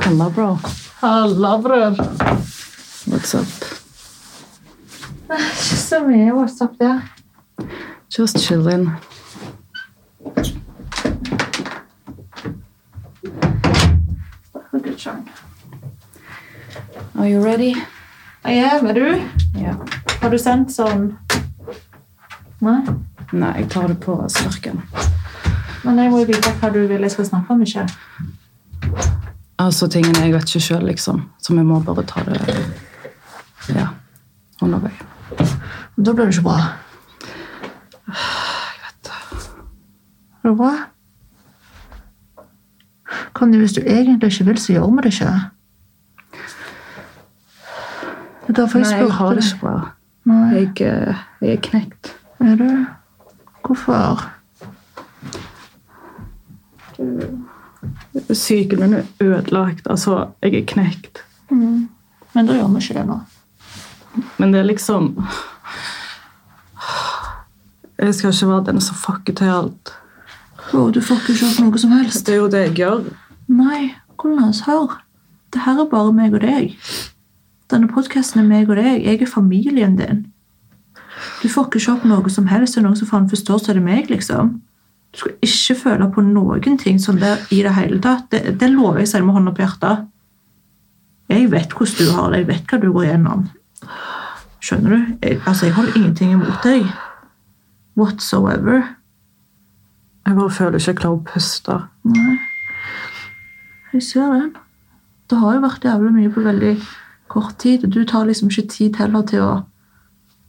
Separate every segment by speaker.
Speaker 1: Halla, bro.
Speaker 2: Halla, bror.
Speaker 1: What's up?
Speaker 2: Det er ikke så mye WhatsApp, det.
Speaker 1: Just chillin'. Are you ready?
Speaker 2: Ja, men du,
Speaker 1: Ja.
Speaker 2: har du sendt sånn Nei,
Speaker 1: Nei, jeg tar det på sparken.
Speaker 2: men jeg må jo vite hva du vil jeg skal snakke om, ikke?
Speaker 1: Altså tingene jeg vet ikke sjøl, liksom. Så vi må bare ta det ja, underveis.
Speaker 2: Da blir det ikke bra.
Speaker 1: Jeg vet det.
Speaker 2: Er det bra? Kan du, hvis du egentlig ikke vil, så gjør vi det ikke. Det er derfor jeg
Speaker 1: Nei, jeg
Speaker 2: spurte
Speaker 1: har det
Speaker 2: deg.
Speaker 1: ikke bra.
Speaker 2: Nei,
Speaker 1: Jeg, eh, jeg er knekt.
Speaker 2: er du? Hvorfor?
Speaker 1: Psyken min er ødelagt. Altså, jeg er knekt.
Speaker 2: Mm. Men da gjør vi ikke det nå.
Speaker 1: Men det er liksom Jeg skal ikke være den som fucker til alt.
Speaker 2: Wow, du får ikke kjøpt noe som helst.
Speaker 1: Det er jo det jeg gjør.
Speaker 2: Nei, hvordan hør? Det her er bare meg og deg. Denne podcasten er meg og deg. Jeg er familien din. Du får ikke kjøpt noe som helst. Det er noen som faen forstår, så er det meg, liksom. Du skal ikke føle på noen ting som det i det hele tatt. Det, det lover jeg selv med hånda på hjertet. Jeg vet hvordan du har det. Jeg vet hva du går gjennom. Skjønner du? Jeg, altså, jeg holder ingenting imot deg. Whatsoever.
Speaker 1: Jeg bare føler ikke jeg klarer å puste.
Speaker 2: Nei. Jeg ser den. Det har jo vært jævlig mye på veldig kort tid. og Du tar liksom ikke tid heller til å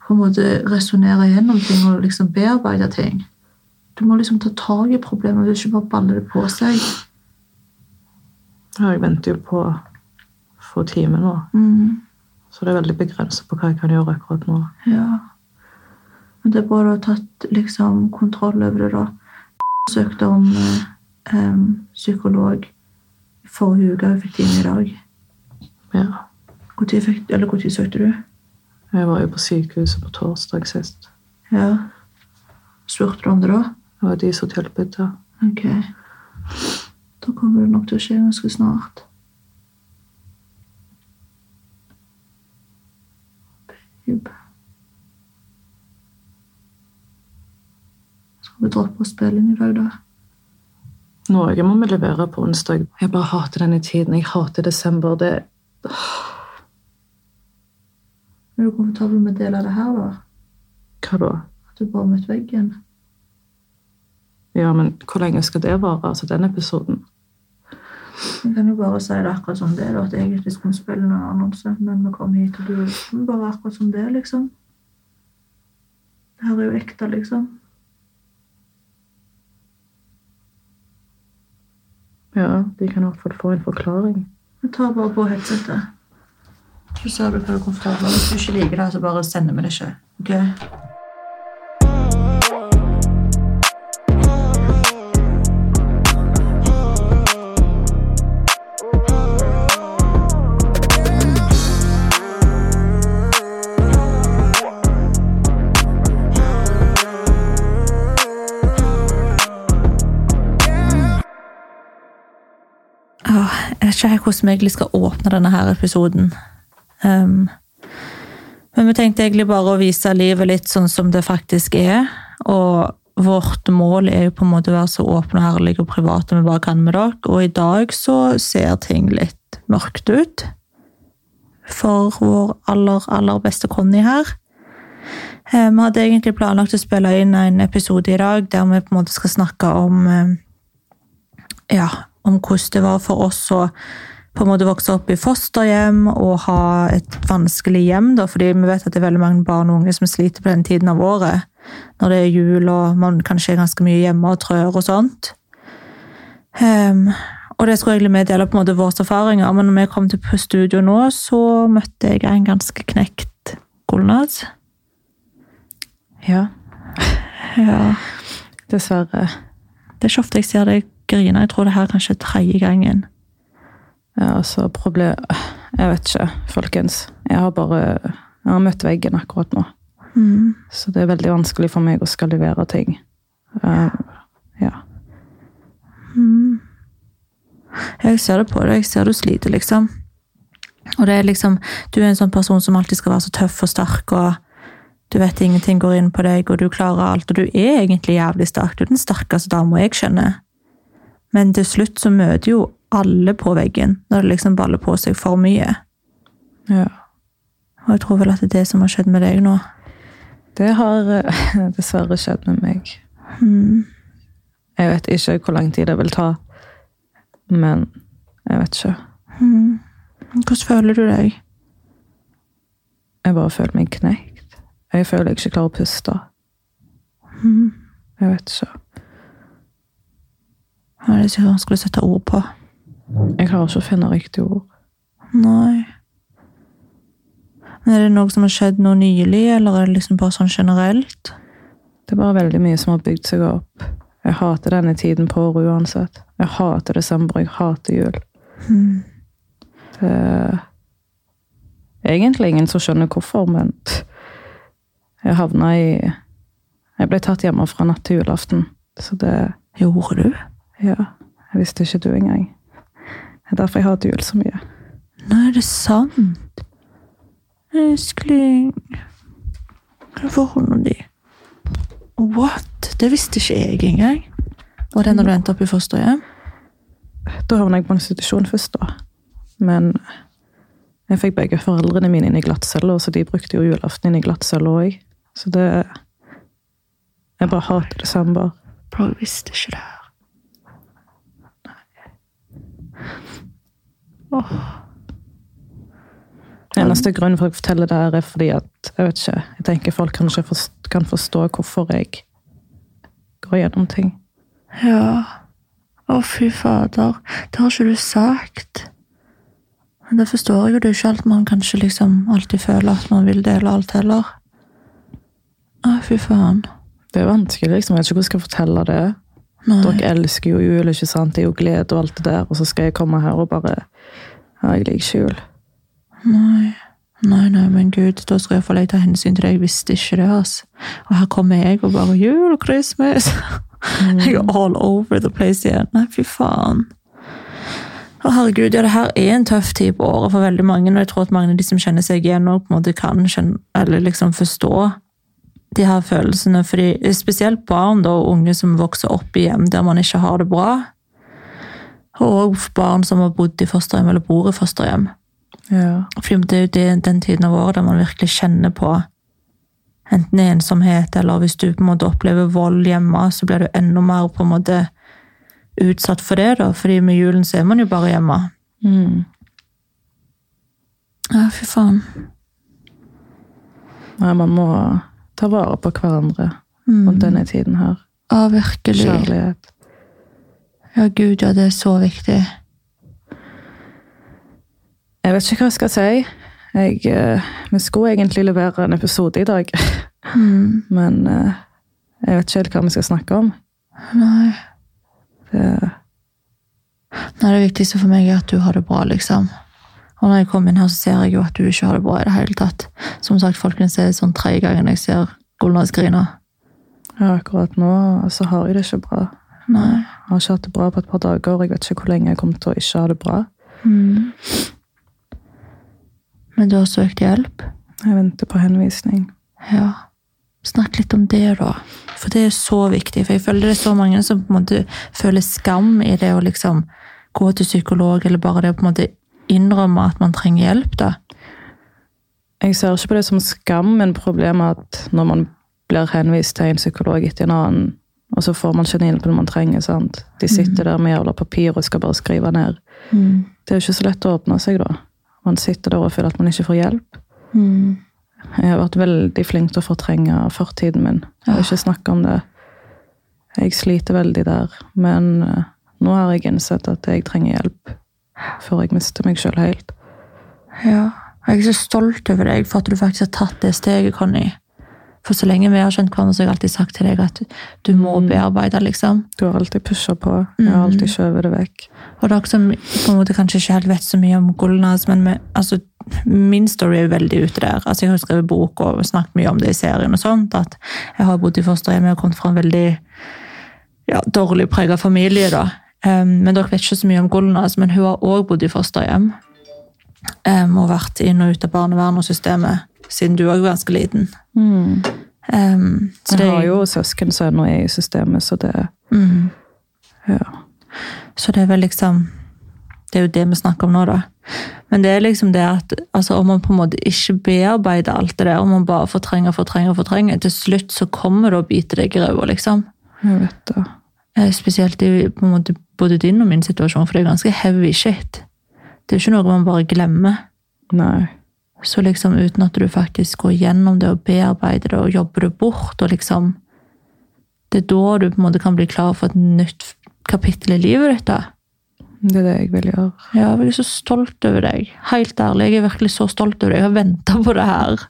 Speaker 2: på en måte resonnere gjennom ting og liksom bearbeide ting. Du må liksom ta tak i problemet, og ikke bare balle det på seg.
Speaker 1: Ja, Jeg venter jo på å få time nå,
Speaker 2: Mm,
Speaker 1: så det er veldig begrenset på hva jeg kan gjøre akkurat nå.
Speaker 2: ja. Men det er bra du har tatt liksom kontroll over det, da. Søkte om eh, em, psykolog i forrige uke, og fikk time i dag.
Speaker 1: Ja.
Speaker 2: Hvor tid fikk, eller når søkte du?
Speaker 1: Jeg var jo på sykehuset på torsdag sist.
Speaker 2: Ja. Spurte du om det da?
Speaker 1: Det var de som tilbød det.
Speaker 2: Ok. Da kommer det nok til å skje ganske snart. Babe. Skal vi droppe å spille inn i dag, da?
Speaker 1: Norge må vi levere på onsdag. Jeg bare hater denne tiden. Jeg hater desember. Det
Speaker 2: Er du komfortabel med å dele det her, da?
Speaker 1: Hva da?
Speaker 2: At du bare møtte veggen?
Speaker 1: Ja, men hvor lenge skal det vare? Altså, den episoden?
Speaker 2: Vi kan jo bare si det akkurat som det, da, at jeg egentlig skulle spille en annonse, men vi kom hit, og du men bare akkurat som det, liksom. Det her er jo ekte, liksom.
Speaker 1: Ja, de kan i hvert fall få en forklaring.
Speaker 2: Vi tar bare på headsetet. Så ser du hva du er komfortabel med. Hvis du ikke liker det, så bare sender vi det ikke. Ok? Jeg vet ikke helt hvordan vi egentlig skal åpne denne her episoden. Ehm, men vi tenkte egentlig bare å vise livet litt sånn som det faktisk er. Og vårt mål er jo på en måte å være så åpne og ærlige og private vi bare kan med dere. Og i dag så ser ting litt mørkt ut. For vår aller, aller beste Conny her. Eh, Vi hadde egentlig planlagt å spille inn en episode i dag der vi på en måte skal snakke om eh, ja, om hvordan det var for oss å på en måte vokse opp i fosterhjem og ha et vanskelig hjem, da, fordi vi vet at det er veldig mange barn og unge som sliter på den tiden av året. Når det er jul og man kanskje er ganske mye hjemme og trør og sånt. Ehm, og det skulle egentlig vi dele på en måte våre erfaringer, men når vi kom til på studio nå, så møtte jeg en ganske knekt Gulnad.
Speaker 1: Ja,
Speaker 2: Ja.
Speaker 1: dessverre.
Speaker 2: Det er ikke ofte jeg ser deg grine. Jeg tror det her er kanskje tredje gangen.
Speaker 1: Ja, altså, problem... Jeg vet ikke, folkens. Jeg har bare jeg har møtt veggen akkurat nå.
Speaker 2: Mm.
Speaker 1: Så det er veldig vanskelig for meg å skal levere ting. Eh, ja.
Speaker 2: Mm. Jeg ser det på deg, jeg ser du sliter, liksom. Og det er liksom, du er en sånn person som alltid skal være så tøff og sterk, og du vet ingenting går inn på deg, og du klarer alt, og du er egentlig jævlig sterk. Du er den sterkeste dama jeg kjenner. Men til slutt så møter jo alle på veggen, når det liksom baller på seg for mye.
Speaker 1: Ja.
Speaker 2: Og jeg tror vel at det er det som har skjedd med deg nå.
Speaker 1: Det har eh, dessverre skjedd med meg. Jeg vet ikke hvor lang tid det vil ta, men jeg vet ikke.
Speaker 2: Mm. Hvordan føler du deg?
Speaker 1: Jeg bare føler meg knekt. Jeg føler jeg ikke klarer å puste.
Speaker 2: Mm.
Speaker 1: Jeg vet ikke.
Speaker 2: Ja, Det er sikkert vanskelig å sette ord på.
Speaker 1: Jeg klarer ikke å finne riktige ord.
Speaker 2: Nei. Men er det noe som har skjedd nå nylig, eller er det liksom bare sånn generelt?
Speaker 1: Det er bare veldig mye som har bygd seg opp. Jeg hater denne tiden på året uansett. Jeg hater desember, jeg hater jul. Det er egentlig ingen som skjønner hvorfor, men jeg havna i Jeg ble tatt hjemme fra natt til julaften, så det
Speaker 2: Gjorde du?
Speaker 1: Ja, jeg visste ikke du engang. Det er derfor jeg hater jul så mye.
Speaker 2: Nei, er det sant? Øskling Hva får hånda di? What? Det visste ikke jeg engang. Var det når du endte opp i fosterhjem?
Speaker 1: Da havna jeg på institusjon først, da. Men jeg fikk begge foreldrene mine inn i glattcella, så de brukte jo julaften inn i glattcella òg. Så det Jeg bare hater desember.
Speaker 2: Bro, jeg visste ikke det her.
Speaker 1: Eneste grunn for at jeg forteller det her, er fordi at jeg vet ikke, jeg tenker folk kanskje forst- kan forstå hvorfor jeg går gjennom ting.
Speaker 2: Ja. Å, fy fader. Det har ikke du sagt. Men det forstår jeg jo. Det er jo ikke alt man kanskje liksom alltid føler at man vil dele alt heller. Å, fy faen.
Speaker 1: Det er vanskelig, liksom. Jeg vet ikke hvordan jeg skal fortelle det.
Speaker 2: Nei.
Speaker 1: Dere elsker jo jul, ikke sant? Det er jo glede og alt det der. Og så skal jeg komme her og bare Ja, jeg liker ikke jul.
Speaker 2: Nei. Nei, nei, men gud, da skal jeg få lei ta hensyn til deg. Jeg visste ikke det, altså. Og her kommer jeg og bare jul og Christmas. Jeg er all over the place igjen. Nei, fy faen. Å, herregud, ja, det her er en tøff tid på året for veldig mange, og jeg tror at mange av de som kjenner seg igjen, og på en måte kan kjenne, eller liksom forstå de her følelsene. Fordi, spesielt barn da, og unge som vokser opp i hjem der man ikke har det bra. Og barn som har bodd i fosterhjem eller bor i fosterhjem.
Speaker 1: Ja.
Speaker 2: Fordi det er jo det, den tiden av året der man virkelig kjenner på enten ensomhet, eller hvis du på en måte opplever vold hjemme, så blir du enda mer på en måte utsatt for det, da. Fordi med julen så er man jo bare hjemme.
Speaker 1: Mm.
Speaker 2: Ja, fy faen.
Speaker 1: Nei, man må ta vare på hverandre rundt denne tiden her.
Speaker 2: Ja, virkelig.
Speaker 1: Kjærlighet.
Speaker 2: Ja, gud, ja, det er så viktig.
Speaker 1: Jeg vet ikke hva jeg skal si. Jeg, eh, vi skulle egentlig levere en episode i dag,
Speaker 2: Mm.
Speaker 1: men eh, jeg vet ikke helt hva vi skal snakke om.
Speaker 2: Nei.
Speaker 1: Det,
Speaker 2: Nei, det viktigste for meg er at du har det bra, liksom. Og når jeg kommer inn her, så ser jeg jo at du ikke har det bra i det hele tatt. Som sagt, folkens, det er sånn tredje gangen jeg ser Gulnars grine.
Speaker 1: ja, akkurat nå så har jeg det ikke bra.
Speaker 2: Nei.
Speaker 1: Jeg har ikke hatt det bra på et par dager. Jeg vet ikke hvor lenge jeg kommer til å ikke ha det bra.
Speaker 2: Men du har søkt hjelp?
Speaker 1: Jeg venter på henvisning.
Speaker 2: Ja. Snakk litt om det, da. For det er så viktig. For jeg føler det er så mange som på en måte føler skam i det å liksom gå til psykolog, eller bare det å på en måte innrømme at man trenger hjelp, da.
Speaker 1: Jeg ser ikke på det som skam, men problemet er at når man blir henvist til en psykolog etter en annen, og så får man ikke den hjelpen man trenger, sant? De sitter der med jævla papir og skal bare skrive ned. Det er jo ikke så lett å åpne seg da. Man sitter der og føler at man ikke får hjelp. Jeg har vært veldig flink til å fortrenge fortiden min, og ikke snakke om det. Jeg sliter veldig der, men eh, nå har jeg innsett at jeg trenger hjelp før jeg mister meg selv helt.
Speaker 2: Ja. Og jeg er så stolt over deg for at du faktisk har tatt det steget, Conny. For så lenge vi har kjent hverandre, så har jeg alltid sagt til deg at du må bearbeide, liksom.
Speaker 1: Du har alltid pushet på, jeg har alltid skjøvet det vekk.
Speaker 2: Og dere som på en måte kanskje ikke helt vet så mye om Golnaz, men med, altså, min story er jo veldig ute der. Altså, jeg har jo skrevet bok og snakket mye om det i serien og sånt, at jeg har bodd i fosterhjem og kommet fra en veldig ja, dårlig preget familie da. Um, men dere vet ikke så mye om Golnaz, men hun har òg bodd i fosterhjem. Um, og vært inn og ut av barnevernet og systemet siden du òg var ganske liten. Um, så det,
Speaker 1: Jeg Mm. har jo søskensønn og er i systemet, så det
Speaker 2: Mm.
Speaker 1: ja.
Speaker 2: Så det er vel liksom Det er jo det vi snakker om nå, da. Men det er liksom det at altså, om man på en måte ikke bearbeider alt det der, om man bare fortrenger fortrenger, fortrenger, til slutt så kommer det å bite deg i ræva, liksom.
Speaker 1: Jeg vet det.
Speaker 2: Eh, Spesielt i på en måte, både din og min situasjon, for det er ganske heavy shit. Det er jo ikke noe man bare glemmer.
Speaker 1: Nei.
Speaker 2: Så liksom uten at du faktisk går gjennom det og bearbeider det og jobber det bort, og liksom Det er da du på en måte kan bli klar for et nytt kapittel i livet ditt, da.
Speaker 1: Det er det jeg vil gjøre.
Speaker 2: Ja, jeg er så stolt over deg. Helt ærlig, jeg er virkelig så stolt over deg. Jeg har venta på det her.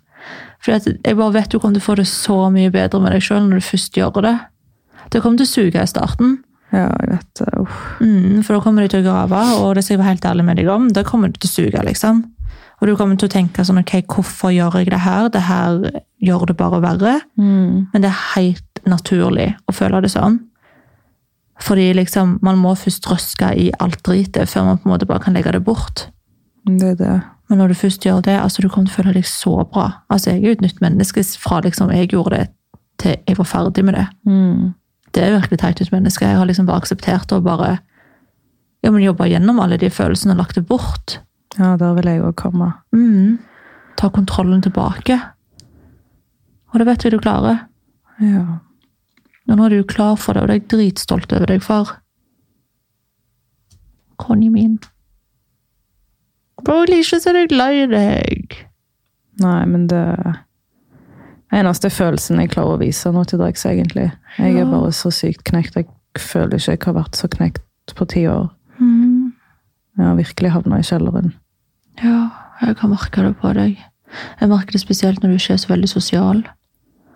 Speaker 2: Fordi at jeg bare vet du kommer til å få det så mye bedre med deg sjøl når du først gjør det. Det kommer til å suge i starten,
Speaker 1: Ja, jeg vet det. Uff.
Speaker 2: mm, for da kommer de til å grave, og det skal jeg være helt ærlig med deg om, da kommer det til å suge, liksom. Og du kommer til å tenke sånn, ok, hvorfor gjør jeg det her? Det her gjør det bare verre.
Speaker 1: Mm.
Speaker 2: Men det er helt naturlig å føle det sånn. Fordi liksom, man må først røske i alt dritet før man på en måte bare kan legge det bort.
Speaker 1: Det er det.
Speaker 2: Men når du først gjør det, altså du kommer til å føle deg så bra. Altså jeg er jo et nytt menneske fra liksom jeg gjorde det til jeg var ferdig med det.
Speaker 1: Mm.
Speaker 2: Det er virkelig teit nytt menneske. Jeg har liksom bare akseptert det og bare ja, men jobba gjennom alle de følelsene og lagt det bort.
Speaker 1: Ja, der vil jeg òg komme.
Speaker 2: Mm. Ta kontrollen tilbake. Og det vet vi du klarer.
Speaker 1: Ja.
Speaker 2: Og nå er du klar for det, og det er jeg dritstolt over deg for. Conny min. Bro, jeg liker ikke så er jeg glad i deg.
Speaker 1: Nei, men det Eneste følelsen jeg klarer å vise nå til dags, egentlig. Jeg er
Speaker 2: Ja.
Speaker 1: bare så sykt knekt. Jeg føler ikke jeg har vært så knekt på ti år.
Speaker 2: Mm.
Speaker 1: Jeg har virkelig havna i kjelleren.
Speaker 2: Ja, jeg kan merke det på deg. Jeg merker det spesielt når du ikke er så veldig sosial.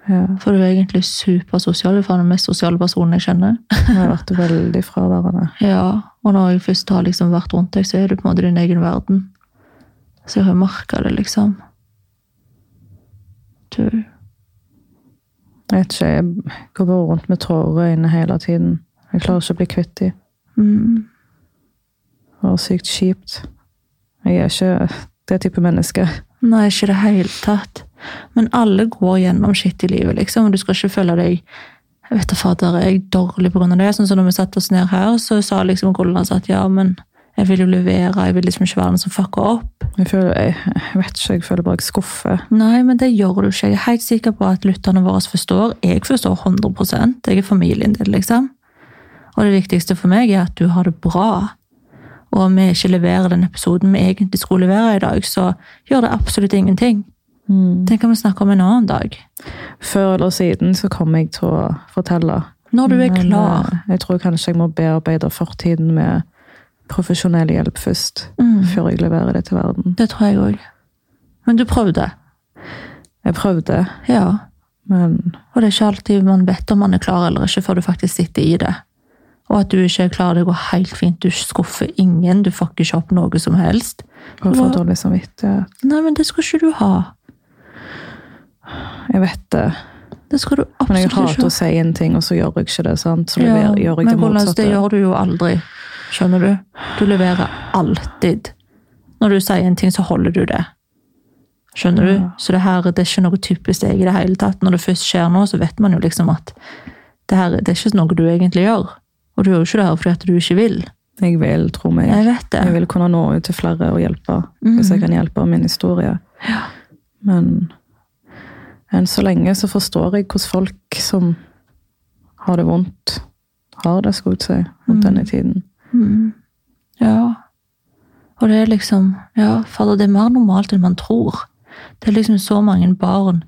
Speaker 1: Ja.
Speaker 2: For du er egentlig supersosial. Du er faen den mest sosiale personen jeg kjenner.
Speaker 1: Jeg har vært veldig fraværende.
Speaker 2: Ja, og når jeg først har liksom vært rundt deg, så er du på en måte din egen verden. Så jeg har merket det, liksom. Du
Speaker 1: Jeg vet ikke, jeg går bare rundt med tårer inne hele tiden. Jeg klarer ikke å bli kvitt dem.
Speaker 2: mm.
Speaker 1: Det var sykt kjipt. Jeg er ikke det type menneske.
Speaker 2: Nei, ikke i det hele tatt. Men alle går gjennom skitt i livet, liksom. Og du skal ikke føle deg jeg vet da, fader, er jeg dårlig på grunn av det? Sånn som når vi satte oss ned her, så sa liksom Golnas at ja, men jeg vil jo levere, jeg vil liksom ikke være den som fucker opp.
Speaker 1: Jeg, føler, jeg, jeg vet ikke, jeg føler bare jeg skuffer.
Speaker 2: Nei, men det gjør du ikke. Jeg er helt sikker på at lytterne våre forstår. Jeg forstår 100 Jeg er familien din, liksom. Og det viktigste for meg er at du har det bra. Og om vi ikke leverer den episoden vi egentlig skulle levere i dag, så gjør det absolutt ingenting. Det kan vi snakke om en annen dag.
Speaker 1: Før eller siden så kommer jeg til å fortelle.
Speaker 2: Når du er
Speaker 1: Men,
Speaker 2: klar.
Speaker 1: eh, Jeg tror kanskje jeg må bearbeide fortiden med profesjonell hjelp først.
Speaker 2: Mm.
Speaker 1: Før jeg leverer det til verden.
Speaker 2: Det tror jeg òg. Men du prøvde.
Speaker 1: Jeg prøvde,
Speaker 2: Ja.
Speaker 1: men
Speaker 2: Og det er ikke alltid man vet om man er klar eller ikke, før du faktisk sitter i det. Og at du ikke er klar, det går helt fint. Du skuffer ingen, du fucker ikke opp noe som helst.
Speaker 1: bare for
Speaker 2: Hva-
Speaker 1: dårlig samvittighet.
Speaker 2: Nei, men det skal ikke du ha.
Speaker 1: Jeg vet det.
Speaker 2: Det skal du
Speaker 1: Men jeg
Speaker 2: absolutt ikke
Speaker 1: hater å
Speaker 2: ha.
Speaker 1: si en ting, og så gjør jeg ikke det. sant? Så
Speaker 2: Ja,
Speaker 1: lever, gjør jeg
Speaker 2: men
Speaker 1: det
Speaker 2: Golas,
Speaker 1: motsatte.
Speaker 2: det gjør du jo aldri. Skjønner du? Du leverer alltid. Når du sier en ting, så holder du det. Skjønner du? Så det her det er ikke noe typisk deg i det hele tatt. Når det først skjer noe, så vet man jo liksom at det her det er ikke noe du egentlig gjør. Og du gjør jo ikke det her fordi at du ikke vil.
Speaker 1: Jeg vil, tro meg.
Speaker 2: Jeg vet det.
Speaker 1: Jeg vil kunne nå ut til flere og hjelpe, hvis jeg kan hjelpe min historie. Men enn så lenge så forstår jeg hvordan folk som har det vondt, har det, skulle jeg si, rundt denne tiden.
Speaker 2: Mm. Ja. Og det er liksom Ja, fader, det er mer normalt enn man tror. Det er liksom så mange barn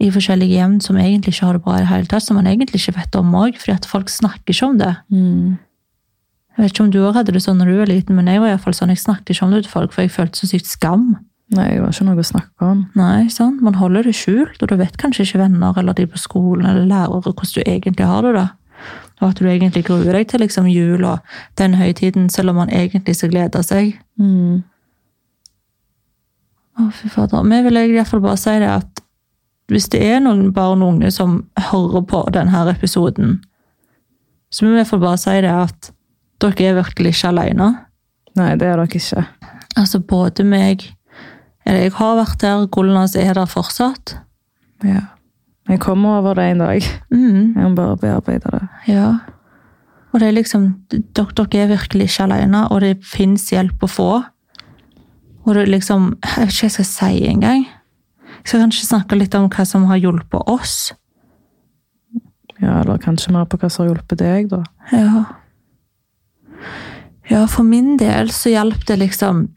Speaker 2: i forskjellige hjem som egentlig ikke har det bra i det hele tatt, som man egentlig ikke vet om òg, fordi at folk snakker ikke om det. Jeg vet ikke om du òg hadde det sånn når du var liten, men jeg var i hvert fall sånn, jeg snakket ikke om det til folk, for jeg følte så sykt skam.
Speaker 1: Nei, det var ikke noe å snakke om.
Speaker 2: Nei, sant? Man holder det skjult, og du vet kanskje ikke venner eller de på skolen eller lærere hvordan du egentlig har det. da. Og at du egentlig gruer deg til liksom jul og den høytiden, selv om man egentlig skal glede seg. Å, fy fader. Men jeg vil i hvert fall bare si det at hvis det er noen barn og unge som hører på denne episoden, så vil jeg i hvert fall bare si det at Dere er virkelig ikke alene.
Speaker 1: Nei, det er dere ikke.
Speaker 2: Altså, både meg Eller jeg har vært der, Golnas er der fortsatt.
Speaker 1: Ja. Jeg kommer over det en dag.
Speaker 2: Mm,
Speaker 1: Jeg må bare bearbeide det.
Speaker 2: ja. Og det er liksom Dere, dere er virkelig ikke alene, og det fins hjelp å få. Og det er liksom Jeg vet ikke hva jeg skal si engang. Jeg skal kanskje snakke litt om hva som har hjulpet oss.
Speaker 1: Ja, Eller kanskje mer på hva som har hjulpet deg, da.
Speaker 2: Ja. Ja, for min del så hjalp det liksom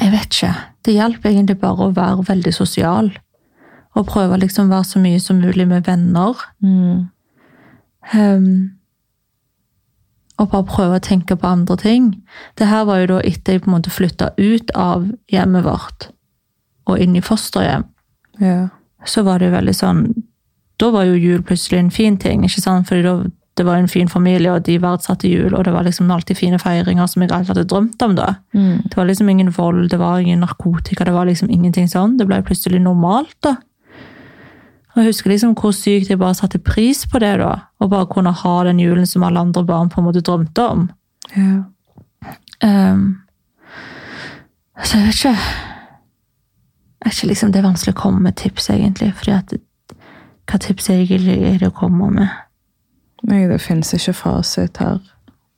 Speaker 2: Jeg vet ikke. Det hjalp egentlig bare å være veldig sosial. Og prøve å liksom være så mye som mulig med venner. Ehm, og bare prøve å tenke på andre ting. Det her var jo da etter jeg på en måte flytta ut av hjemmet vårt og inn i fosterhjem
Speaker 1: Ja.
Speaker 2: så var det jo veldig sånn Da var jo jul plutselig en fin ting, ikke sant? Fordi da, det var en fin familie, og de verdsatte jul, og det var liksom alltid fine feiringer som jeg alltid hadde drømt om, da. Det var liksom ingen vold, det var ingen narkotika, det var liksom ingenting sånn. Det ble plutselig normalt, da. Og jeg husker liksom hvor sykt jeg bare satte pris på det, da. Og bare kunne ha den julen som alle andre barn på en måte drømte om.
Speaker 1: ja.
Speaker 2: Ehm, så jeg vet ikke jeg vet ikke liksom Det er vanskelig å komme med tips, egentlig. fordi at Hva tips egentlig er det å komme med?
Speaker 1: Nei, det fins ikke fasit her.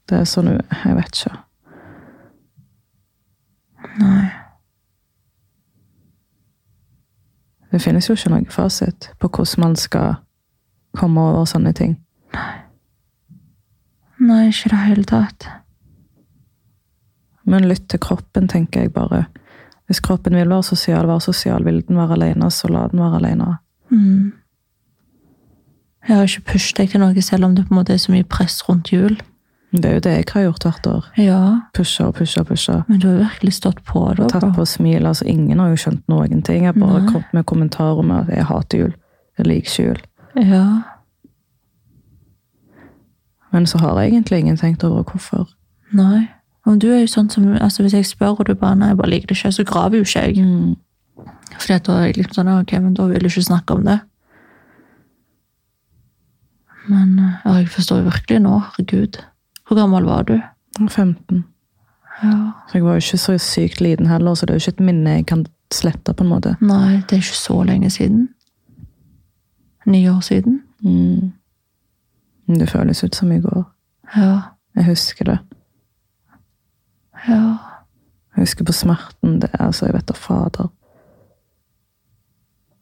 Speaker 1: Det er sånn u- Jeg vet ikke.
Speaker 2: Nei.
Speaker 1: Det finnes jo ikke noe fasit på hvordan man skal komme over sånne ting.
Speaker 2: Nei, ikke i det hele tatt.
Speaker 1: Men lytt til kroppen, tenker jeg bare. Hvis kroppen vil være sosial, vær sosial. Vil den være alene, så la den være alene.
Speaker 2: Mm. Jeg har ikke pushet deg til noe, selv om det på en måte er så mye press rundt jul.
Speaker 1: Det er jo det jeg har gjort hvert år.
Speaker 2: Ja,
Speaker 1: Pusha og pusha og pusha.
Speaker 2: men du har virkelig stått på det.
Speaker 1: Tatt
Speaker 2: bro.
Speaker 1: på smil. Altså, ingen har jo skjønt noen ting. Jeg har bare
Speaker 2: Nei.
Speaker 1: kommet med kommentarer om at jeg hater jul. Jeg liker ikke jul.
Speaker 2: Ja.
Speaker 1: Men så har jeg egentlig ingen tenkt over hvorfor.
Speaker 2: Nei. Om du er jo sånn som, altså Hvis jeg spør, og du bare nei, jeg bare liker det ikke, så graver jo ikke jeg. Fordi at da er jeg liksom sånn, ok, men da vil du ikke snakke om det. Men eh, ja, jeg forstår jo virkelig nå, herregud. Hvor gammel var du?
Speaker 1: Jeg er 15.
Speaker 2: Ja.
Speaker 1: Så jeg var jo ikke så sykt liten heller, så det er jo ikke et minne jeg kan slette, på en måte.
Speaker 2: Nei, det er ikke så lenge siden. Ni år siden?
Speaker 1: Men Det føles ut som i går.
Speaker 2: Ja.
Speaker 1: Jeg husker det.
Speaker 2: Ja.
Speaker 1: Jeg husker på smerten. Det er altså, jeg vet da fader.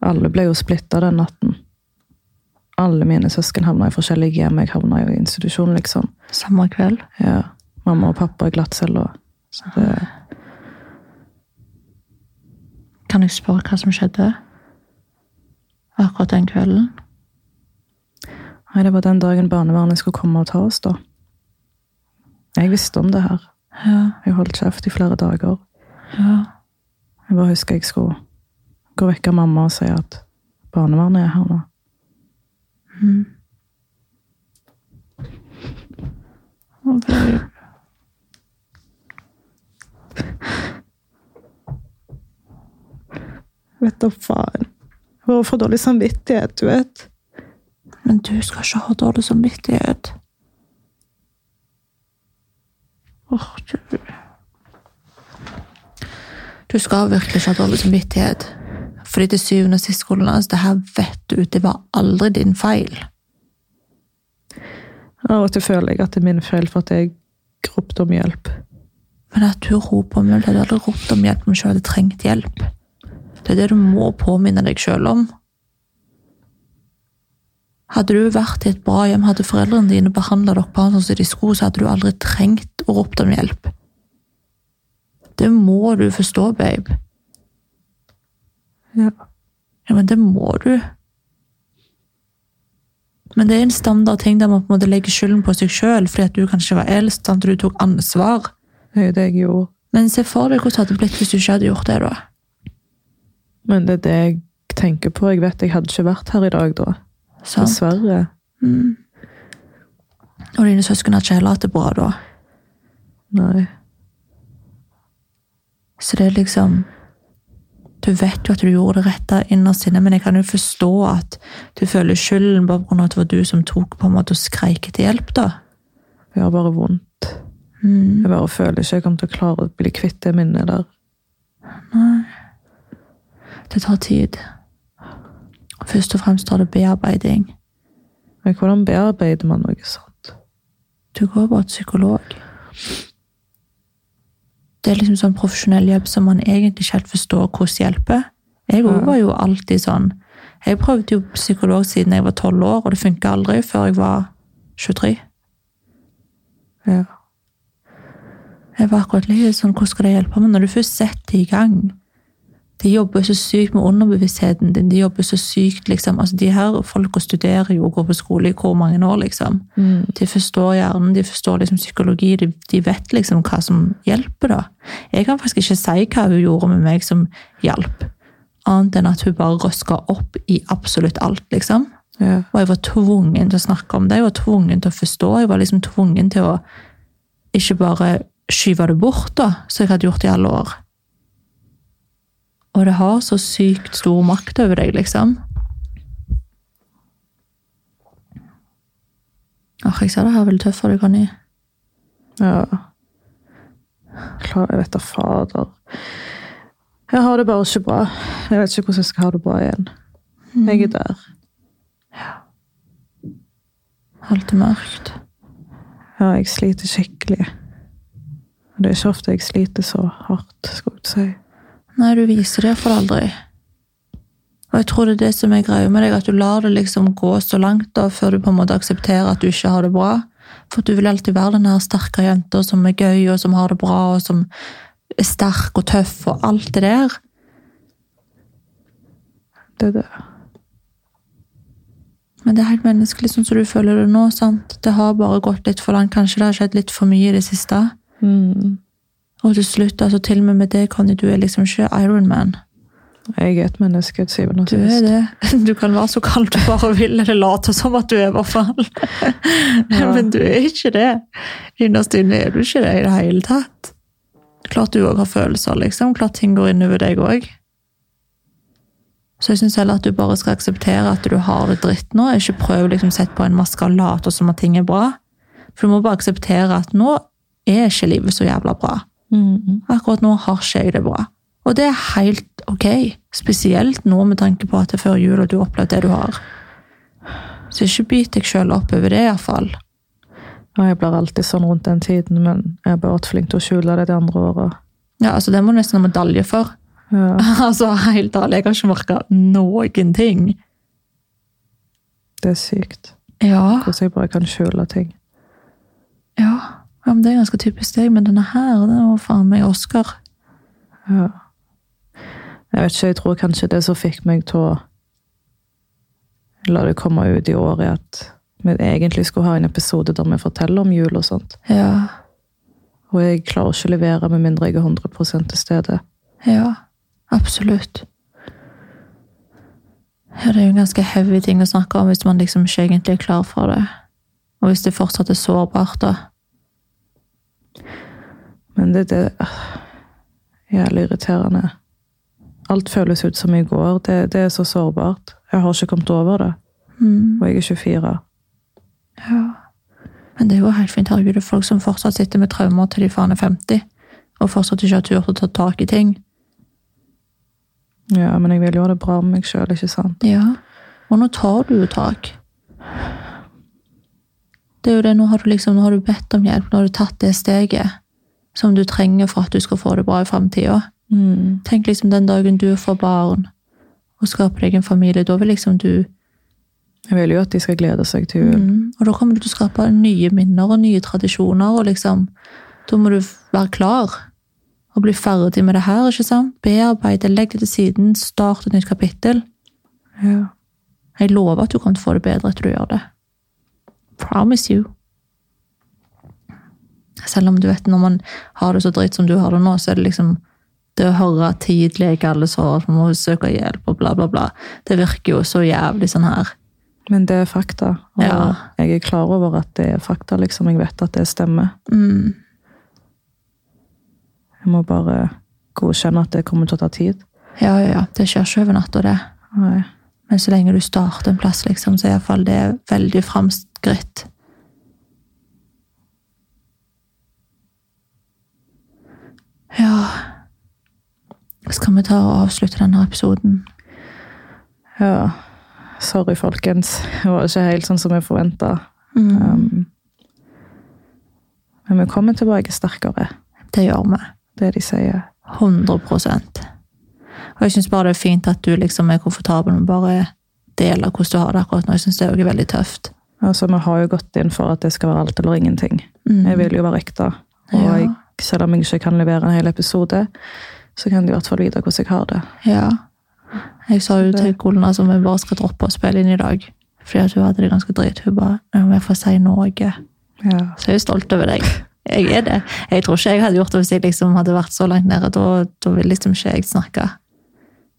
Speaker 1: Alle ble jo splitta den natten. Alle mine søsken havna i forskjellige hjem. Jeg havna jo i institusjon, liksom.
Speaker 2: Samme kveld?
Speaker 1: Ja. Mamma og pappa i glattcella. Så det
Speaker 2: Kan jeg spørre hva som skjedde? Akkurat den kvelden?
Speaker 1: Nei, det var den dagen barnevernet skulle komme og ta oss, da. Jeg visste om det her.
Speaker 2: Ja.
Speaker 1: Jeg holdt kjeft i flere dager.
Speaker 2: Ja.
Speaker 1: Jeg bare husker jeg skulle gå vekk av mamma og si at barnevernet er her nå.
Speaker 2: Mm. Og det-
Speaker 1: Vet da faen. Jeg har for dårlig samvittighet, du vet.
Speaker 2: Men du skal ikke ha dårlig samvittighet. Åh, du Du skal virkelig ikke ha dårlig samvittighet. Fordi til syvende og sist, skolen hans, det her vet du, det var aldri din feil.
Speaker 1: Av og til føler jeg at det er min feil for at jeg ropte om hjelp.
Speaker 2: Men at du roper om hjelp, du hadde aldri ropt om hjelp om du ikke hadde trengt hjelp. Det er det du må påminne deg sjøl om. Hadde du vært i et bra hjem, hadde foreldrene dine behandla dere barn sånn som de skulle, så hadde du aldri trengt å rope om hjelp. Det må du forstå, babe.
Speaker 1: Ja.
Speaker 2: Ja, men det må du. Men det er en standard ting der man på en måte legger skylden på seg sjøl, fordi at du kanskje var eldst, sant, og du tok ansvar.
Speaker 1: Det er jo det jeg gjorde.
Speaker 2: Men se for deg hvordan det hadde blitt hvis du ikke hadde gjort det, da.
Speaker 1: Men det er det jeg tenker på. Jeg vet jeg hadde ikke vært her i dag da.
Speaker 2: Sant?
Speaker 1: Dessverre.
Speaker 2: Og dine søsken hadde ikke heller hatt det bra da.
Speaker 1: Nei.
Speaker 2: Så det er liksom Du vet jo at du gjorde det rette innerst inne, men jeg kan jo forstå at du føler skylden bare pga. at det var du som tok på en måte og skreik etter hjelp, da.
Speaker 1: Jeg har bare vondt.
Speaker 2: Mm.
Speaker 1: Jeg bare føler ikke jeg kommer til å klare å bli kvitt det minnet der.
Speaker 2: Det tar tid. Først og fremst tar det bearbeiding.
Speaker 1: Men hvordan bearbeider man noe sånt?
Speaker 2: Du går bare til psykolog. Det er liksom sånn profesjonell hjelp som man egentlig ikke helt forstår hvordan hjelper. Jeg også var jo alltid sånn. Jeg prøvde jo psykolog siden jeg var tolv år, og det funka aldri før jeg var 23.
Speaker 1: Ja.
Speaker 2: Jeg var akkurat litt sånn, Hvordan skal det hjelpe? Men når du først setter i gang De jobber så sykt med underbevisstheten din. De jobber så sykt, liksom. Altså, de her folka studerer jo og går på skole i hvor mange år, liksom. De forstår hjernen, de forstår liksom psykologi, de, de vet liksom hva som hjelper, da. Jeg kan faktisk ikke si hva hun gjorde med meg som hjalp, annet enn at hun bare røska opp i absolutt alt, liksom.
Speaker 1: Ja.
Speaker 2: Og jeg var tvungen til å snakke om det, jeg var tvungen til å forstå, jeg var liksom tvungen til å ikke bare skyve det bort, da, som jeg hadde gjort i alle år. Og det har så sykt stor makt over deg, liksom. Åh, jeg sa det her er veldig tøft for deg, Conny.
Speaker 1: Ja. Klar, jeg vet da fader. Jeg har det bare ikke bra. Jeg vet ikke hvordan jeg skal ha det bra igjen.
Speaker 2: Mm.
Speaker 1: Jeg er der.
Speaker 2: Alt er mørkt.
Speaker 1: Ja, jeg sliter skikkelig. Og det er ikke ofte jeg sliter så hardt, skal jeg si.
Speaker 2: Nei, du viser det for aldri. Og jeg tror det er det som er greia med deg, at du lar det liksom gå så langt da, før du på en måte aksepterer at du ikke har det bra. For du vil alltid være den her sterke jenta som er gøy, og som har det bra, og som er sterk og tøff, og alt det der.
Speaker 1: Det er det.
Speaker 2: Men det er helt menneskelig sånn som du føler det nå, sant? Det har bare gått litt for langt, kanskje det har skjedd litt for mye i det siste.
Speaker 1: Mm.
Speaker 2: Og til slutt, altså til og med med det, Conny, du er liksom ikke Iron Man.
Speaker 1: Jeg er et menneske til syvende og
Speaker 2: Du er
Speaker 1: sist.
Speaker 2: det. Du kan være så kald du bare vil, eller late som at du er, i hvert fall. Men du er ikke det. Innerst inne er du ikke det i det hele tatt. Klart du òg har følelser, liksom. Klart ting går innover deg òg. Så jeg syns heller at du bare skal akseptere at du har det dritt nå. Ikke prøv liksom sette på en maske og late som at ting er bra. For du må bare akseptere at nå er ikke livet så jævla bra.
Speaker 1: Mm.
Speaker 2: Akkurat nå har ikke jeg det bra. Og det er helt ok. Spesielt nå med tanke på at det er før jul og du har opplevd det du har. Så ikke bit deg sjøl opp over det, iallfall.
Speaker 1: Ja, jeg blir alltid sånn rundt den tiden, men jeg har bare vært flink til å skjule det de andre åra.
Speaker 2: Ja, altså, det må du nesten ha medalje for.
Speaker 1: Ja.
Speaker 2: altså, Helt ærlig, jeg har ikke merka noen ting.
Speaker 1: Det er sykt.
Speaker 2: Ja.
Speaker 1: Hvordan jeg bare kan skjule ting.
Speaker 2: ja. ja men det er ganske typisk deg, men denne her, den var faen meg Oscar.
Speaker 1: Ja. Jeg vet ikke, jeg tror kanskje det som fikk meg til å la det komme ut i år, er at vi egentlig skulle ha en episode der vi forteller om jul og sånt.
Speaker 2: Ja.
Speaker 1: Og jeg klarer ikke å levere med mindre jeg er 100 til stede.
Speaker 2: Ja, absolutt. Ja, det er jo en ganske heavy ting å snakke om hvis man liksom ikke egentlig er klar for det. Og hvis det fortsatt er sårbart, da.
Speaker 1: Men det, det er jævlig irriterende. Alt føles ut som i går. Det, det er så sårbart. Jeg har ikke kommet over det. Og jeg er 24.
Speaker 2: Men det er jo helt fint. Herregud, det er folk som fortsatt sitter med traumer til de faen er 50, og fortsatt ikke har turt å ta tak i ting.
Speaker 1: Ja, men jeg vil jo ha det bra med meg sjøl, ikke sant?
Speaker 2: Ja. Og nå tar du jo tak. Det er jo det, nå har du liksom, nå har du bedt om hjelp, nå har du tatt det steget som du trenger for at du skal få det bra i framtida. Tenk liksom den dagen du får barn og skaper deg en familie, da vil liksom du
Speaker 1: Jeg vil jo at de skal glede seg til jul.
Speaker 2: Mm. Og da kommer du til å skape nye minner og nye tradisjoner, og liksom Da må du være klar og bli ferdig med det her, ikke sant? Bearbeide, legg det til siden, start et nytt kapittel.
Speaker 1: Ja.
Speaker 2: Jeg lover at du kommer til å få det bedre etter du gjør det. Promise you. Selv om du vet, når man har det så dritt som du har det nå, så er det liksom det å høre tidlig ikke alle sår, man må søke hjelp og bla, bla, bla. Det virker jo så jævlig sånn her.
Speaker 1: Men det er fakta. Og
Speaker 2: Ja.
Speaker 1: jeg er klar over at det er fakta, liksom. Jeg vet at det stemmer.
Speaker 2: Mm.
Speaker 1: Jeg må bare godkjenne at det kommer til å ta tid.
Speaker 2: Ja, ja, ja. Det skjer ikke over natta, det.
Speaker 1: Nei.
Speaker 2: Men så lenge du starter en plass, liksom, så er iallfall det veldig framskritt. kan vi ta og avslutte denne episoden?
Speaker 1: Ja. Sorry, folkens. Det var ikke helt sånn som jeg forventa. Um, men vi kommer tilbake sterkere.
Speaker 2: Det gjør vi.
Speaker 1: Det de sier.
Speaker 2: 100 Og jeg syns bare det er fint at du liksom er komfortabel med å bare dele hvordan du har det akkurat nå. Jeg syns det er jo veldig tøft.
Speaker 1: Altså, vi har jo gått inn for at det skal være alt eller ingenting. Jeg vil jo være ekte. Og
Speaker 2: Mm. Ja.
Speaker 1: jeg, selv om jeg ikke kan levere en hel episode, så kan de i hvert fall vite hvordan jeg har det.
Speaker 2: Ja. Jeg sa jo til Golna som vi bare skal droppe å spille inn i dag. Fordi at hun hadde det ganske drit. Hun bare «Nei, men 'Jeg får si Norge'.
Speaker 1: Ja.
Speaker 2: Så jeg er jo stolt over deg. Jeg er det. Jeg tror ikke jeg hadde gjort det hvis jeg liksom hadde vært så langt nede. Da, da ville liksom ikke jeg snakke.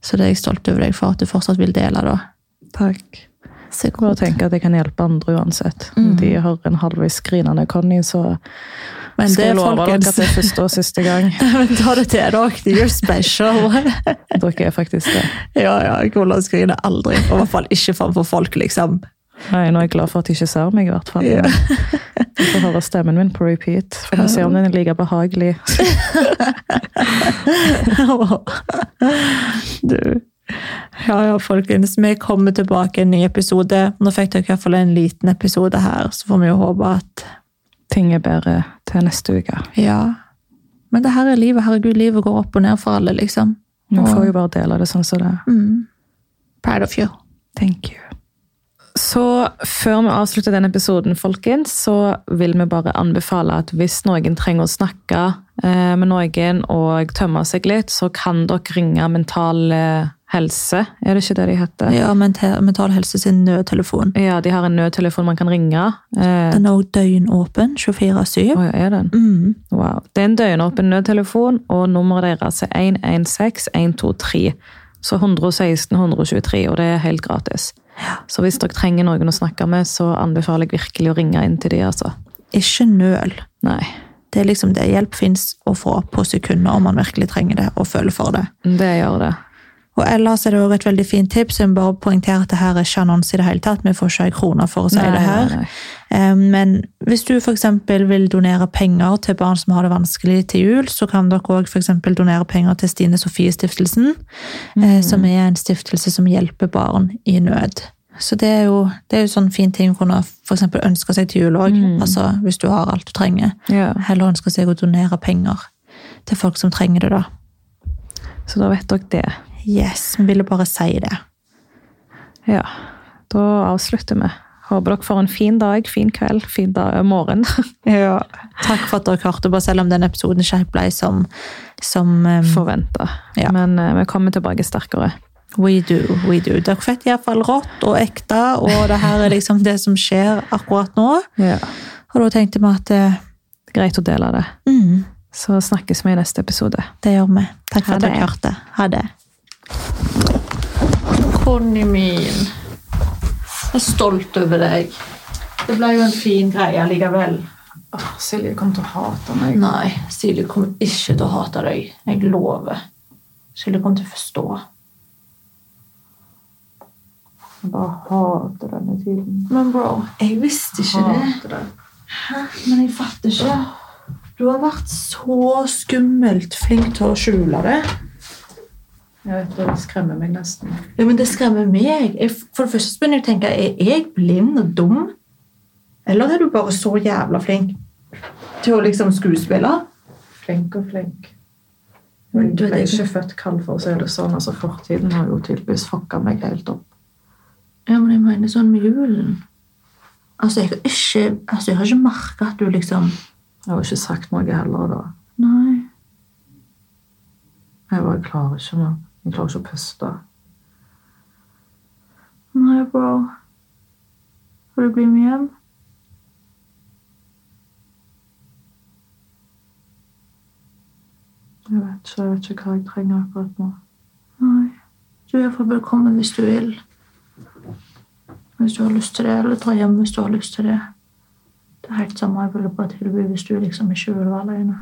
Speaker 2: Så det er jeg stolt over deg for at du fortsatt vil dele, da.
Speaker 1: Takk.
Speaker 2: Så
Speaker 1: Og tenke at jeg kan hjelpe andre uansett.
Speaker 2: Mm.
Speaker 1: De har en halvveis grinende Conny, så
Speaker 2: Men
Speaker 1: skal
Speaker 2: det,
Speaker 1: jeg love dere at
Speaker 2: folkens
Speaker 1: det er første og siste gang.
Speaker 2: Men ta det til dere. You're special.
Speaker 1: Dere er faktisk det.
Speaker 2: ja, ja. Hvordan skriver det aldri? Og I hvert fall ikke framfor folk, liksom.
Speaker 1: Nei, nå er jeg glad for at de ikke ser meg, i hvert fall.
Speaker 2: Ja.
Speaker 1: Du får høre stemmen min på repeat. Får vi se om den er like behagelig.
Speaker 2: du. Ja, ja, folkens. Vi kommer tilbake i en ny episode. Nå fikk dere i hvert fall en liten episode her, så får vi jo håpe at
Speaker 1: Ting er bedre til neste uke.
Speaker 2: Ja. Men det her er livet. Herregud, livet går opp og ned for alle, liksom.
Speaker 1: Nå får vi bare dele det sånn som det er.
Speaker 2: Mm. Pride of you.
Speaker 1: Thank you. Så før vi avslutter denne episoden, folkens, så vil vi bare anbefale at hvis noen trenger å snakke eh, med noen og tømme seg litt, så kan dere ringe Mental eh, Helse. Er det ikke det de heter?
Speaker 2: Ja, Mental Mental Helse sin nødtelefon.
Speaker 1: Ja, de har en nødtelefon man kan ringe. Eh,
Speaker 2: Den er også døgnåpen 24-7.
Speaker 1: Å ja, er den?
Speaker 2: Mm.
Speaker 1: Wow. Det er en døgnåpen nødtelefon, og nummeret deres er 116123. Så 116 123, og det er helt gratis. Så hvis dere trenger noen å snakke med, så anbefaler jeg virkelig å ringe inn til de, altså.
Speaker 2: Ikke nøl.
Speaker 1: Nei.
Speaker 2: Det er liksom det. Hjelp fins å få på sekunder om man virkelig trenger det og føler for det.
Speaker 1: Det gjør det.
Speaker 2: Og ellers er det også et veldig fint tips. Jeg må bare poengtere at det her er ikke annonse i det hele tatt. Vi får ikke en krone for å si
Speaker 1: Nei,
Speaker 2: det her.
Speaker 1: nei, nei.
Speaker 2: Eh, Men hvis du f.eks. vil donere penger til barn som har det vanskelig til jul, så kan dere òg f.eks. donere penger til Stine Sofie Stiftelsen,
Speaker 1: Mhm.
Speaker 2: eh, som er en stiftelse som hjelper barn i nød. Så det er jo, det er jo sånn fin ting å kunne for eksempel ønske seg til jul òg,
Speaker 1: Mhm.
Speaker 2: altså, hvis du har alt du trenger.
Speaker 1: Ja.
Speaker 2: Heller ønske seg å donere penger til folk som trenger det, da.
Speaker 1: Så da vet dere det.
Speaker 2: Yes, vi ville bare si det.
Speaker 1: Ja. Da avslutter vi. Håper dere får en fin dag, fin kveld, fin dag, eh, morgen.
Speaker 2: Takk for at dere hørte på, selv om den episoden ikke helt ble som, som eh,
Speaker 1: Forventa.
Speaker 2: Ja.
Speaker 1: Men eh, vi kommer tilbake sterkere.
Speaker 2: We do, we do. Dere fikk iallfall rått og ekte, og det her er liksom det som skjer akkurat nå. Og da tenkte vi at eh,
Speaker 1: Det er greit å dele det.
Speaker 2: mm,
Speaker 1: Så snakkes vi i neste episode.
Speaker 2: det gjør vi.
Speaker 1: Ha
Speaker 2: Takk for at
Speaker 1: det.
Speaker 2: dere hørte. Ha det. Conny min. Jeg er stolt over deg. Det ble jo en fin greie likevel.
Speaker 1: Silje kommer til å hate meg.
Speaker 2: Nei, Silje kommer ikke til å hate deg. Jeg lover. Silje kommer til å forstå.
Speaker 1: Jeg bare hater denne tiden.
Speaker 2: Men bro, jeg visste ikke det.
Speaker 1: det.
Speaker 2: Hæ? Men jeg fatter ikke. Du har vært så skummelt flink til å skjule det.
Speaker 1: Jeg vet det, det skremmer meg nesten.
Speaker 2: Ja, men Det skremmer meg. Jeg, for det første så begynner jeg å tenke er jeg blind og dum. Eller er du bare så jævla flink til å liksom skuespille?
Speaker 1: Flink og flink. Men
Speaker 2: Du
Speaker 1: jeg
Speaker 2: vet
Speaker 1: ble
Speaker 2: ikke.
Speaker 1: ikke født kald for å si det sånn. Altså, fortiden har jo tydeligvis fucka meg helt opp.
Speaker 2: Ja, men jeg mener sånn med julen. Altså, jeg har ikke, altså, jeg har ikke merka at du liksom
Speaker 1: Jeg har ikke sagt noe heller da.
Speaker 2: Nei.
Speaker 1: Jeg bare klarer ikke mer. Jeg klarer ikke å puste.
Speaker 2: Nei, bro. Vil du bli med hjem?
Speaker 1: Jeg vet ikke, jeg vet ikke hva jeg trenger akkurat nå.
Speaker 2: Nei. Du er iallfall velkommen hvis du vil. Hvis du har lyst til det, eller dra hjem hvis du har lyst til det. Det er helt samme jeg ville bare tilby hvis du liksom ikke vil være alene.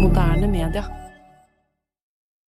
Speaker 3: Moderne media.